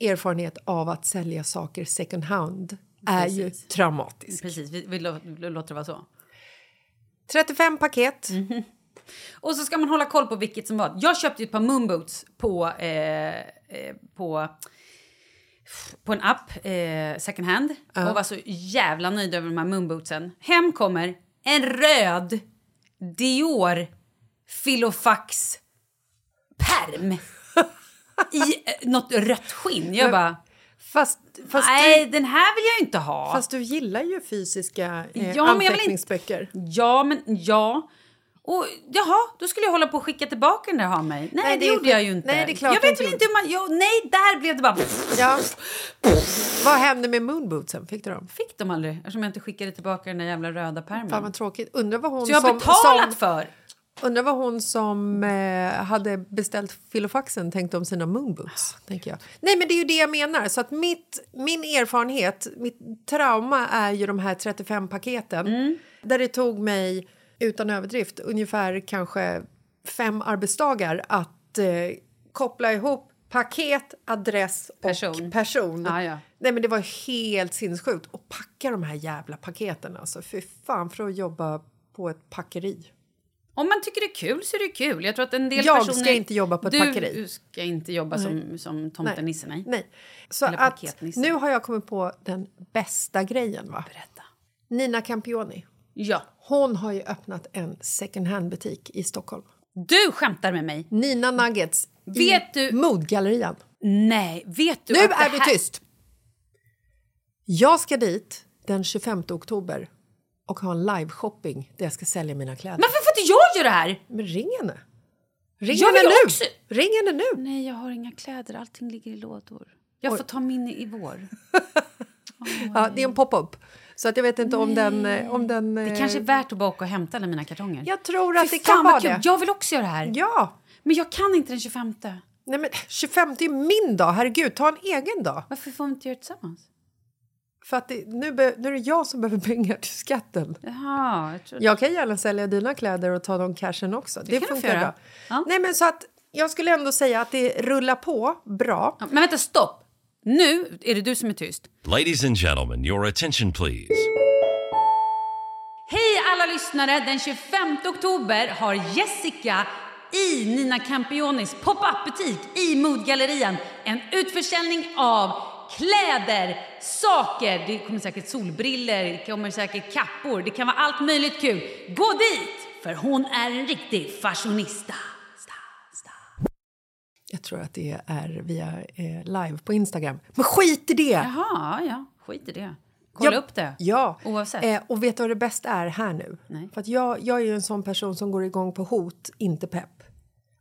erfarenhet av att sälja saker second hand är ju
Precis.
traumatisk.
Precis, vi, vi, lå- vi låter det vara så.
35 paket.
Och så ska man hålla koll på vilket som var. Jag köpte ju ett par moonboots på, eh, eh, på på en app, eh, second hand, och var så jävla nöjd över de här moonbootsen. Hem kommer en röd Dior Filofax perm i eh, något rött skinn. Jag bara,
Fast, fast,
nej
du,
den här vill jag inte ha.
fast du gillar ju fysiska eh,
Ja, men jag vill inte-
anteckningsböcker.
Ja, men ja. Och jaha, då skulle jag hålla på och skicka tillbaka den där ha mig. Nej,
Nej,
det,
det är
gjorde
skit-
jag ju inte.
Nej, det är klart
jag
du
vet
inte
väl
gjorde.
inte hur man... Jo, nej, där blev det bara...
Ja. Vad hände med moonbootsen? Fick du dem?
Fick de aldrig, eftersom jag inte skickade tillbaka den där jävla röda pärmen.
Fan vad tråkigt. Undrar vad hon
Så jag har
som,
betalat
som,
för.
undrar vad hon som eh, hade beställt filofaxen tänkte om sina moonboots. tänker jag. Nej men det är ju det jag menar. Så att mitt, min erfarenhet, mitt trauma är ju de här 35 paketen. Där det tog mig, utan överdrift, ungefär kanske fem arbetsdagar att eh, koppla ihop paket, adress och
Person.
person. person.
Ja, ja.
Nej men det var helt sinnessjukt. Och packa de här jävla paketen alltså. Fy fan för att jobba på ett packeri.
Om man tycker det är kul så är det kul. Jag tror att en del
Jag
personer...
ska inte jobba på ett
du
packeri.
Du ska inte jobba som, som tomtenisse, nej.
Nej. Så
Eller
att
paketnissen.
nu har jag kommit på den bästa grejen va? Berätta. Nina Campioni.
Ja.
Hon har ju öppnat en second hand-butik i Stockholm.
Du skämtar med mig.
Nina Nuggets
Vet
i
du-
Modgallerian.
Nej, vet du
Nu
att det här-
är du tyst! Jag ska dit den 25 oktober och ha en live-shopping där jag ska sälja mina kläder.
Men varför får inte jag göra det här?
Men ring henne! Ring
Jag
henne
vill
nu!
också-
Ring henne nu!
Nej, jag har inga kläder. Allting ligger i lådor. Jag får ta min i vår.
Ja, det är en pop-up. Så att jag vet inte om den... eh, Om den
Det kanske är värt att bara åka och hämta alla mina kartonger.
Jag tror att
Fy
det kan
fan, vad
vara
kul.
det.
Jag vill också göra det här.
Ja!
Men jag kan inte den 25.
Nej men 25 är min dag, herregud. Ta en egen dag.
Varför får vi inte göra det tillsammans?
För att det, nu, be, nu är det jag som behöver pengar till skatten.
Jaha, jag tror...
Jag kan gärna sälja dina kläder och ta de cashen också. Det,
kan du få
funkar
göra.
bra.
Ja.
Nej men så att jag skulle ändå säga att det rullar på bra.
Men vänta, stopp! Nu är det du som är tyst.
Ladies and gentlemen, your attention please.
Hej alla lyssnare! Den 25 oktober har Jessica i Nina Campionis pop-up-butik i Modgallerian en utförsäljning av kläder, saker, det kommer säkert solbriller, det kommer säkert kappor, det kan vara allt möjligt kul. Gå dit! För hon är en riktig fashionista. Sta, sta.
Jag tror att det är via eh, live på Instagram. Men skit i det!
Jaha, ja, skit i det. Kolla
Ja,
upp det.
Ja.
Oavsett.
Eh, och vet du vad det bästa är här nu? För att jag, jag är ju en sån person som går igång på hot, inte pepp.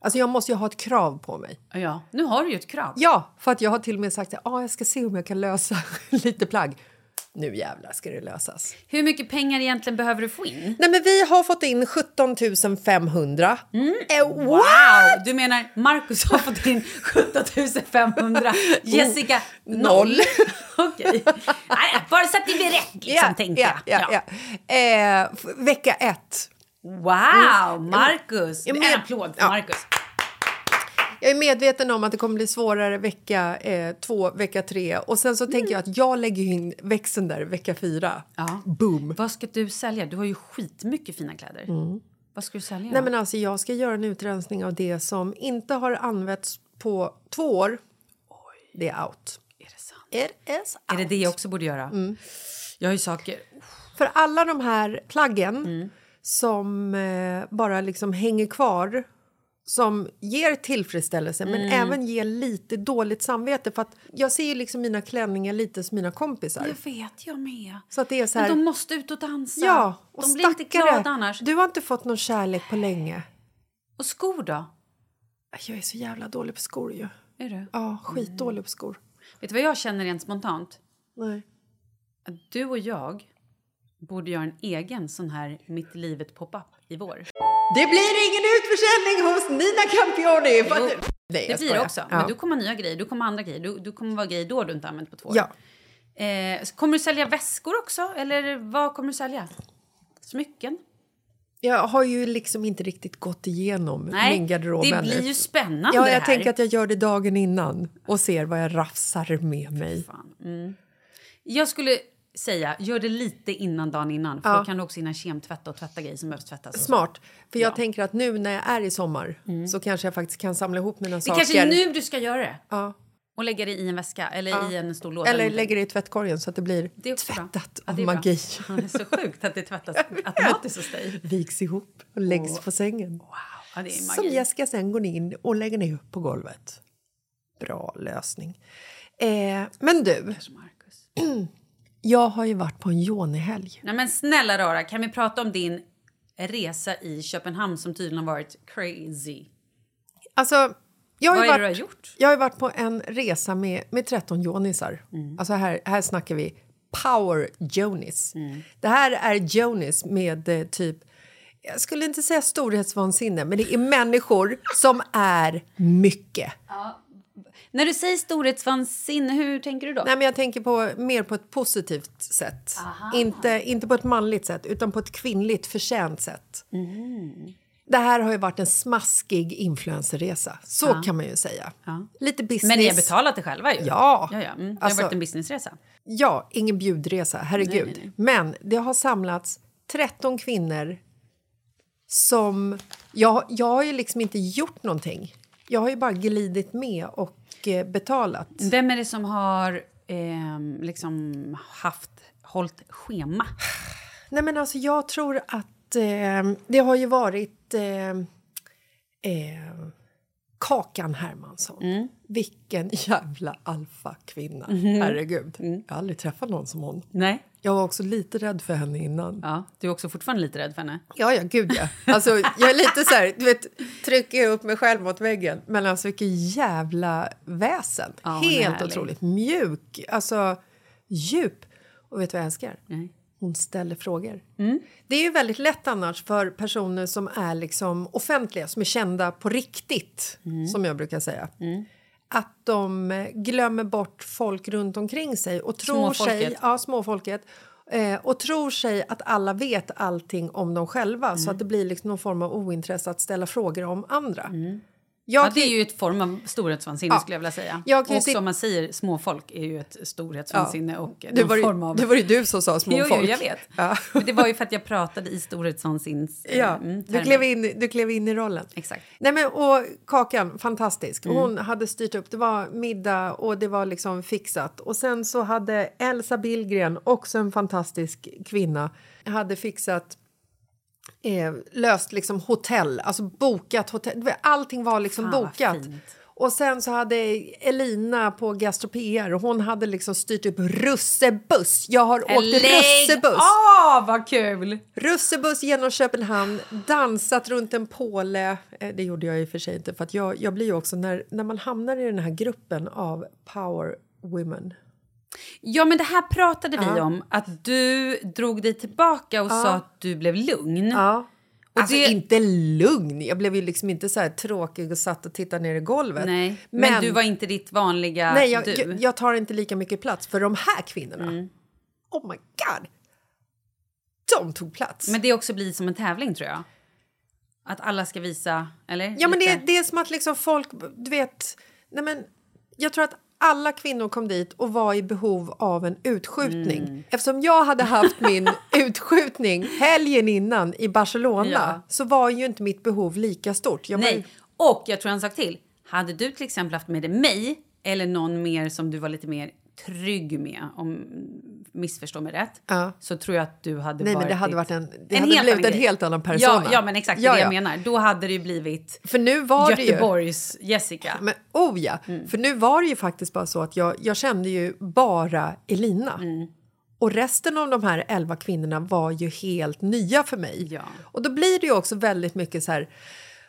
Alltså jag måste ju ha ett krav på mig.
Ja, nu har du ju ett krav.
Ja, för att jag har till och med sagt att ah, jag ska se om jag kan lösa lite plagg. Nu jävlar ska det lösas.
Hur mycket pengar egentligen behöver du få in?
Nej men vi har fått in 17 500. Eh, wow!
Wow! Du menar Marcus har fått in 17 500, Jessica noll.
Noll.
Okej. Nej, Bara så att det blir rätt, liksom,
Ja,
tänkte
ja,
jag.
ja, ja. Eh, f- vecka ett.
Wow, Marcus!
Ja, men-
en applåd för
ja.
Marcus.
Jag är medveten om att det kommer bli svårare vecka eh, två, vecka tre och sen så tänker jag att jag lägger in växeln där vecka fyra.
Ja.
Boom! Mm.
Vad ska du sälja? Du har ju skitmycket fina kläder. Vad ska du sälja?
Nej, men alltså, jag ska göra en utrensning av det som inte har använts på två år. Det är out.
Är det sant?
It is
Är det det jag också borde göra?
Mm.
Jag har ju saker...
För alla de här plaggen
Mm.
som eh, bara liksom hänger kvar som ger tillfredsställelse, men
Mm.
även ger lite dåligt samvete. För att Jag ser ju liksom mina klänningar lite som mina kompisar.
Det vet jag med.
Så att det är så
Men
här,
de måste ut och dansa.
ja, och
de blir inte
stackare,
glada annars.
Du har inte fått någon kärlek på länge.
Och skor då?
Jag är så jävla dålig på skor ju.
Är du?
Ja, skitdålig på skor.
Vet du vad jag känner rent spontant?
Nej.
att du och jag borde göra en egen sån här Mitt i livet pop-up i vår.
Det blir ingen utförsäljning hos Nina Campioni! För att... Nej,
Det
jag
blir det
skojar.
också.
Ja.
Men du kommer ha nya grejer, du kommer ha andra grejer. Du, du kommer vara grejer då du inte har använt på två år.
ja.
Eh, så kommer du sälja väskor också? Eller vad kommer du sälja? Smycken?
Jag har ju liksom inte riktigt gått igenom min garderob
det
ännu.
blir ju spännande
Ja,
det
jag
här.
tänker att jag gör det dagen innan och ser vad jag rafsar med mig.
Jag skulle säga, gör det lite innan dagen innan. För då kan du också hinna kemtvätta och tvätta grejer som behövs tvättas. och så.
Smart. För jag tänker att nu när jag är i sommar så kanske jag faktiskt kan samla ihop mina
Mm. Det
saker.
kanske är nu du ska göra det.
Ja.
Och lägga det i en väska eller i en stor låda.
Eller
någonting.
lägger det i tvättkorgen så att det blir
Det är också bra.
tvättat
Ja,
av
det är bra.
magi.
Ja, det är så sjukt att det tvättas automatiskt hos dig.
Viks ihop och läggs på sängen.
Ja, det är
Som
magi.
Jessica sen går in och lägger ner på golvet. Bra lösning. Eh, men du,
Marcus.
jag har ju varit på en Joni-helg.
Nej men snälla rara, kan vi prata om din resa i Köpenhamn som tydligen har varit crazy?
Alltså, jag har
Vad
ju
är det du
varit,
har gjort?
jag har ju varit på en resa med, med 13 jonisar.
Mm.
Alltså här, här snackar vi power jonis.
Mm.
Det här är jonis med eh, typ... Jag skulle inte säga storhetsvansinne, men det är människor som är mycket.
När du säger storhetsvansinne, hur tänker du då?
Nej, men jag tänker på, mer på ett positivt sätt. Inte, inte på ett manligt sätt, utan på ett kvinnligt förtjänt sätt.
Mm.
Det här har ju varit en smaskig influencerresa, så kan man ju säga. Lite business.
men ni har betalat det själva ju.
Ja.
ja, ja. Mm. Det
Alltså-
har varit en businessresa.
Ja, ingen bjudresa, herregud. Men det har samlats 13 kvinnor som... Jag, jag har ju liksom inte gjort någonting. Jag har ju bara glidit med och eh, betalat.
Vem är det som har ehm, liksom haft, hållit schema?
Nej, men alltså jag tror att eh, det har ju varit eh, eh, Kakan Hermansson.
Mm.
Vilken jävla alfakvinna.
Mhm.
Herregud.
Mm.
Jag har aldrig träffat någon som hon.
Nej.
Jag var också lite rädd för henne innan.
Ja, du är också fortfarande lite rädd för henne.
Ja, ja, gud ja. Alltså, jag är lite så här, du vet, trycker jag upp mig själv mot väggen. Men alltså vilken jävla väsen.
hon är
Helt
härlig.
otroligt. Mjuk, alltså djup. Och vet du vad jag älskar?
Nej. Mm.
Hon ställer frågor. Det är ju väldigt lätt annars för personer som är liksom offentliga, som är kända på riktigt,
Mm.
som jag brukar säga. Att de eh, glömmer bort folk runt omkring sig och tror sig,
Småfolket.
ja, småfolket eh, och tror sig att alla vet allting om dem själva så
Mm.
att det blir liksom någon form av ointresse att ställa frågor om andra. Jag
Mm. Ja, det
kan-
är ju ett form av storhetsvansinne skulle jag vilja säga.
Jag kan ju
och
sit-
som man säger, småfolk är ju ett storhetsvansinne och
det
någon
var,
form
ju,
av...
det var ju du som sa
jo,
småfolk.
jo, jag vet.
Ja.
Men det var ju för att jag pratade i storhetsvansinns... eh,
Ja,
mm,
du
termer.
klev, in, du klev in i rollen.
Exakt. Mm.
Nej, men, och Kakan, fantastisk. Hon hade styrt upp. Det var middag och det var liksom fixat. Och sen så hade Elsa Billgren, också en fantastisk kvinna, hade fixat eh, löst liksom hotell, alltså bokat hotell. Det var- Allting var liksom
Fan, vad
bokat.
fint.
Och sen så hade Elina på Gastropr, och hon hade liksom styrt upp russebuss. Jag har åkt russebuss.
Åh, vad kul!
Russebuss genom Köpenhamn, dansat runt en påle. Eh, Det gjorde jag i och för sig inte, för att jag, jag blir ju också när, när man hamnar i den här gruppen av power women.
Ja, men det här pratade vi om, att du drog dig tillbaka och sa att du blev lugn.
Ja.
Och
alltså
det-
inte lugn, jag blev ju liksom inte så här tråkig och satt och tittade ner i golvet.
Nej, men, du var inte ditt vanliga
nej, jag,
du. Mm.
jag, jag tar inte lika mycket plats för de här kvinnorna. Oh my god! De tog plats.
Men det också blir som en tävling tror jag. Att alla ska visa, eller?
Ja, men det,
Lite.
det är som att liksom folk... Du vet... Nej men, jag tror att alla kvinnor kom dit och var i behov av en utskjutning.
Mm.
Eftersom jag hade haft min utskjutning helgen innan i Barcelona
Ja.
så var ju inte mitt behov lika stort. Jag var ju-
Nej, och jag tror en sak till. Hade du till exempel haft med dig mig eller någon mer som du var lite mer trygg med, om missförstå mig rätt,
Ja.
så tror jag att du hade
Nej,
varit...
men det hade
ditt-
varit en- det hade blivit en
grej.
helt annan persona.
Ja, ja men exakt, det
Ja,
är det jag
ja.
menar. Då hade det ju blivit
För nu var det ju...
Göteborgs Jessica.
Men oh ja,
Mm.
för nu var det ju faktiskt bara så att jag, jag kände ju bara Elina.
Mm.
Och resten av de här elva kvinnorna var ju helt nya för mig.
Ja.
Och då blir det ju också väldigt mycket så här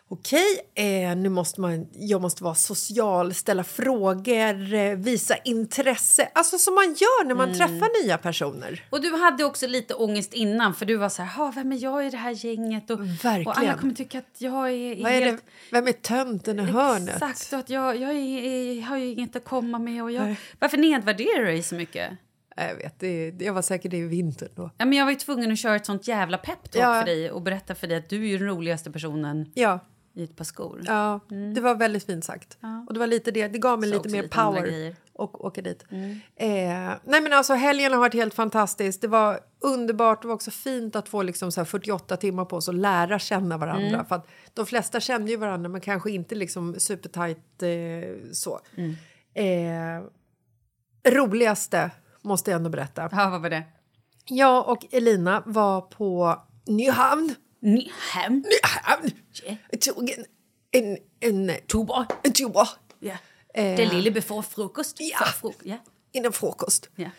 Okej, eh, nu måste man, jag måste vara social, ställa frågor, eh, visa intresse. Alltså som man gör när
Mm.
man träffar nya personer.
Och du hade också lite ångest innan för du var så här, "Ha, vem är jag i det här gänget? Och,
Verkligen.
och alla kommer tycka att jag är, är
Vad är det,
helt...
vem är tönten i hörnet?
Exakt, och att jag, jag, är, är- har ju inget att komma med. Och jag, varför nedvärderar du dig så mycket?
Nej, Jag vet, det, jag var säkert i vintern då.
Ja, men jag var ju tvungen att köra ett sånt jävla peptalk
Ja.
för dig och berätta för dig att du är ju den roligaste personen
Ja,
i ett par skor.
Ja, det var väldigt fint sagt. Och det var lite det, det gav mig
Mm. Så
lite
också
mer
lite andra
power
grejer. Mm.
och åka dit. Eh, nej men alltså helgen har varit helt fantastisk. Det var underbart, det var också fint att få liksom så här 48 timmar på oss och lära känna varandra.
Mm.
För
Mm.
att de flesta kände ju varandra men kanske inte liksom supertajt eh, så. Eh, roligaste måste jag ändå berätta.
Ja, vad var det?
Jag och Elina var på Nyhamn.
Nyhamn?
Nyhamn! Jag tog en... En... En tuba. En tuba.
Ja.
Eh,
Det är lille before frukost.
Ja.
För fruk- ja.
Innan frukost.
ja.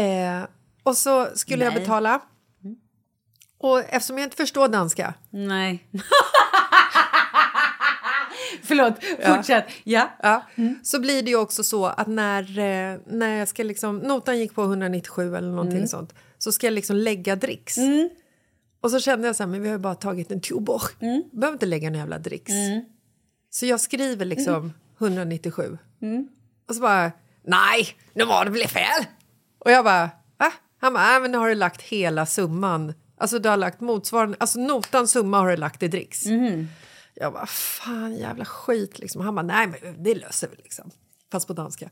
Eh, och så skulle jag
Nej.
betala. Och eftersom jag inte förstår danska
Nej. Förlåt, fortsätt. Ja.
Ja. Så blir det ju också så att när, eh, när jag ska liksom, notan gick på 197 eller någonting sånt så ska jag liksom lägga dricks. Och så kände jag så här, men vi har ju bara tagit en tubor. Behöver inte lägga en jävla dricks. Så jag skriver liksom 197. Och så bara, nej, nu var det väl fel. Och jag bara, va? Han bara, äh, men nu har du lagt hela summan. Alltså du har lagt motsvarande, alltså notan summa har du lagt i dricks. Jag bara, fan jävla skit liksom. Han bara, nej men det löser vi liksom. Fast på danska.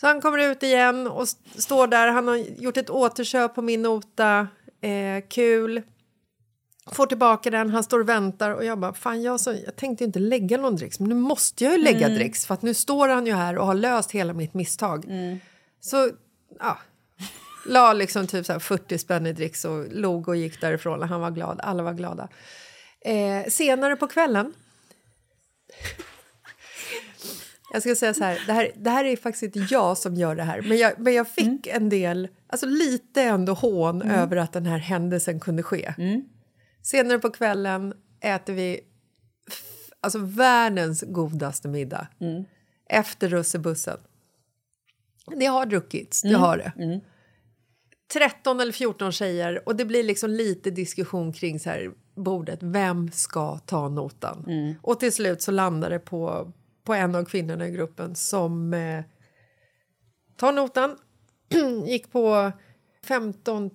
Så han kommer ut igen och s- står där. Han har gjort ett återköp på min nota. Eh, kul. Får tillbaka den, han står och väntar och jag bara, fan jag, så, jag tänkte ju inte lägga någon dricks men nu måste jag ju lägga dricks för att nu står han ju här och har löst hela mitt misstag. Så, ja. La liksom typ så här 40 spänn i dricks och log och gick därifrån och han var glad, alla var glada. Eh, senare på kvällen... jag ska säga så här, det här, det här är faktiskt inte jag som gör det här men jag, men jag fick en del, alltså lite ändå hån över att den här händelsen kunde ske. Senare på kvällen äter vi f- alltså världens godaste middag efter russebussen. Det har druckits, det har det. 13 eller 14 tjejer och det blir liksom lite diskussion kring så här bordet. Vem ska ta notan? Och till slut så landar det på, på en av kvinnorna i gruppen som eh, tar notan. Gick på 15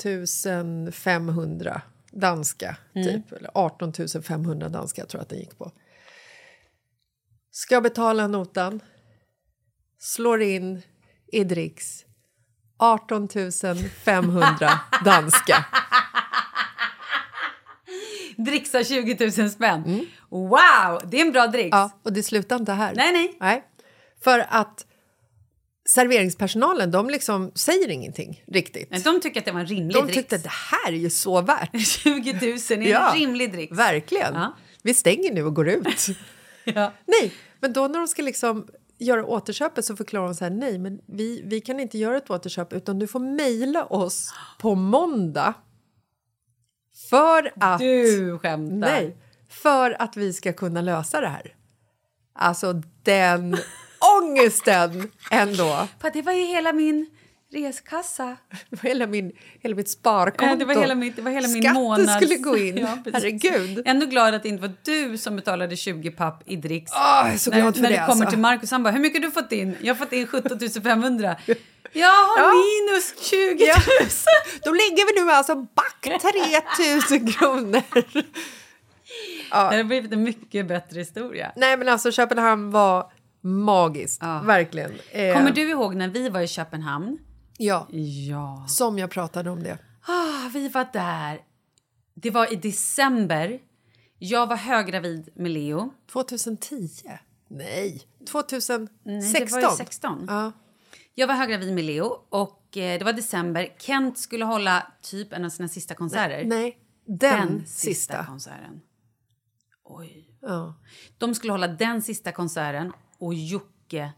500 danska, typ. Eller 18 500 danska tror jag att den gick på. Ska betala notan. Slår in i dricks. 18 500 danska.
Dricksar 20 000 spänn. Wow, det är en bra dricks.
Mm. Ja, och det slutar inte här.
Nej, nej.
För att serveringspersonalen de liksom säger ingenting riktigt.
Men De tycker att det var en rimlig
De
dricks.
tyckte det här är ju så värt.
20 000 är en rimlig dricks.
Verkligen.
Ja.
Vi stänger nu och går ut.
Ja.
nej, men då när de ska liksom göra återköpet så förklarar de så här nej, men vi, vi kan inte göra ett återköp utan du får mejla oss på måndag för att...
Du skämtar.
Nej, för att vi ska kunna lösa det här. Alltså den ångesten ändå.
Fan, Det var ju hela min reskassa.
Det var hela, min, hela mitt sparkonto.
Ja, Eh, det var hela, mitt, det var hela min
Skatten
månads...
skulle gå in.
Ja, precis.
Herregud.
Ändå glad att det inte var du som betalade 20 papp i dricks.
Åh, Ah, jag är så glad
när
för
när
det.
det kommer
alltså.
till Markus, han bara “Hur mycket har du fått in?” “Jag har fått in 17 500.” “Jag har
Ja.
minus 20 000!”
Då ligger vi nu alltså back 3000 kronor.
Det har blivit en mycket bättre historia.
Nej, men alltså Köpenhamn var magiskt. Verkligen. Eh,
Kommer du ihåg när vi var i Köpenhamn?
Ja,
Ja.
som jag pratade om det.
Ah, vi var där. Det var i december. Jag var höggravid med Leo.
2010? Nej, 2016.
Nej, det var ju 16.
Ja.
Jag var höggravid med Leo och eh, det var december. Kent skulle hålla typ en av sina sista konserter.
Nej, den, sista.
konserten. Oj.
Ja.
De skulle hålla den sista konserten och Jocke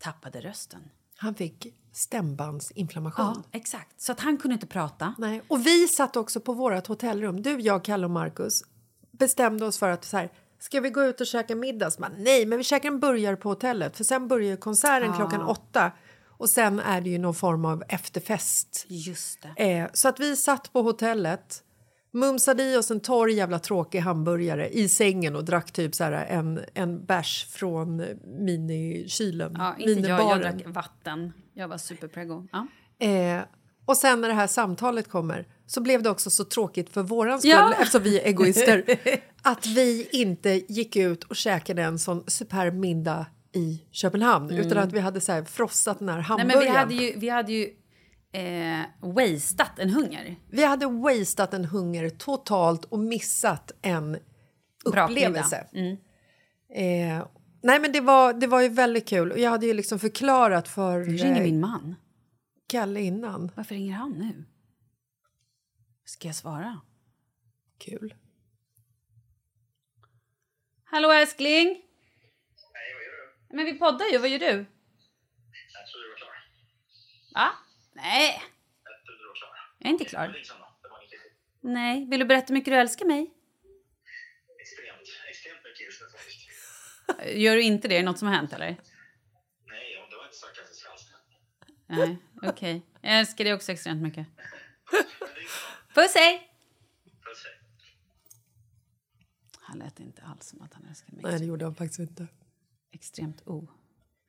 tappade rösten.
Han fick stämbandsinflammation.
Ja, exakt. Så att han kunde inte prata.
Nej. Och vi satt också på vårt hotellrum, du, jag, Kalle och Markus bestämde oss för att så här, ska vi gå ut och käka middag? Så Man, nej, men vi käkar en burgare på hotellet för sen börjar ju konserten klockan åtta och sen är det ju någon form av efterfest.
Just det.
Eh, så att vi satt på hotellet, mumsade i oss en torr jävla tråkig hamburgare i sängen och drack typ så här en, en bärs från eh, minikylen,
Ja, inte jag. Jag
minibaren.
drack vatten. Jag var superprego. Ja.
Eh, och sen när det här samtalet kommer så blev det också så tråkigt för våran skull,
Ja.
eftersom vi är egoister, att vi inte gick ut och käkade en sån superb middag i Köpenhamn utan att vi hade så här frossat den här
Mm. Nej,
hamburgaren.
men vi hade ju, vi hade ju eh, wasteat en hunger.
Vi hade wasteat en hunger totalt och missat en
Bra Mm. middag.
upplevelse. Eh, Nej, men det var, det var ju väldigt kul. Och jag hade ju liksom förklarat för
Nu ringer
eh,
min man.
Kalle innan.
Varför ringer han nu? Ska jag svara?
Kul.
Hallå älskling? Nej, vad gör du? Men vi poddar ju, vad gör du? Jag trodde du var klar. Va? Nej. Jag trodde du var klar. Jag är inte klar. Nej, vill du berätta hur mycket du älskar mig? Extremt, extremt mycket just nu faktiskt. Gör du inte det? Är det något som har hänt eller? Nej, okej. Jag älskar dig också extremt mycket. Puss hej! Han lät inte alls som att han älskade mig.
Nej, det gjorde han faktiskt inte.
Extremt o.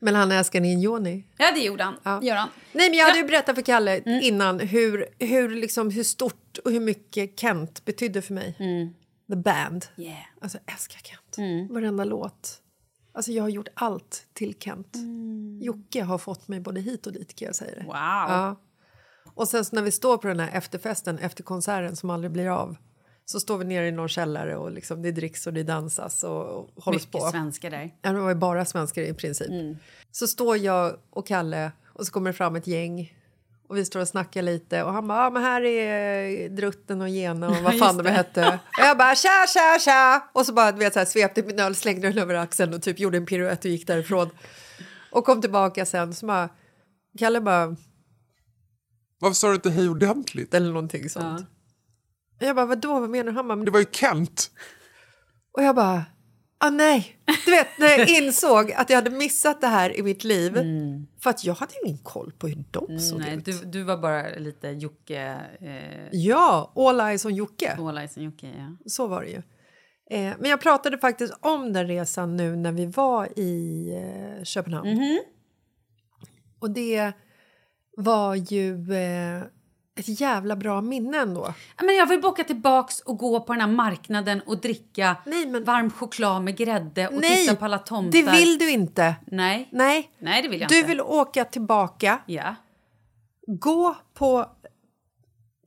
Men han älskar Ninjoni.
Ja, det gjorde han. Gör han.
Nej, men jag hade ju berättat för Kalle
Mm.
innan hur, hur, liksom, hur stort och hur mycket Kent betydde för mig. The Band.
Mm. Yeah. Mm.
Alltså, jag älskar Kent. Varenda låt. Alltså, jag har gjort allt till Kent. Jocke har fått mig både hit och dit, kan jag säga det.
Mm. Wow.
Ja. Och sen så när vi står på den här efterfesten efter konserten som aldrig blir av så står vi nere i någon källare och liksom, det dricks och det dansas och, och hålls
Mycket
på.
svenska där.
Ja, det var ju bara svenskar i princip. Så står jag och Kalle och så kommer det fram ett gäng och vi står och snackar lite och han bara, ah, men här är eh, Drutten och Gena och vad fan de hette. Och jag bara, tja, tja, tja! Och så bara, du vet, så här, svepte min öl, slängde den över axeln och typ gjorde en piruett och gick därifrån. Och kom tillbaka sen, så bara, Kalle bara,
Varför sa du inte hej ordentligt?
eller någonting sånt. Jag bara, vadå, vad menar du? Han bara, "Men
Det var ju Kent.
Och jag bara, ah nej. Du vet, när jag insåg att jag hade missat det här i mitt liv. För att jag hade ju ingen koll på hur de såg
Mm. Nej,
ut.
du, du var bara lite Jocke... Eh,
Ja, all eyes on Jocke.
All eyes on Jocke, ja.
Så var det ju. Eh, men jag pratade faktiskt om den resan nu när vi var i eh, Köpenhamn.
Mm-hmm.
Och det var ju eh, ett jävla bra minne ändå.
Ja, Men jag vill bocka tillbaks och gå på den här marknaden och dricka
Nej, men-
varm choklad med grädde och titta på alla tomtar.
det vill du inte.
Nej. Nej,
Nej.
det vill jag
Du
inte.
vill åka tillbaka
Ja.
gå på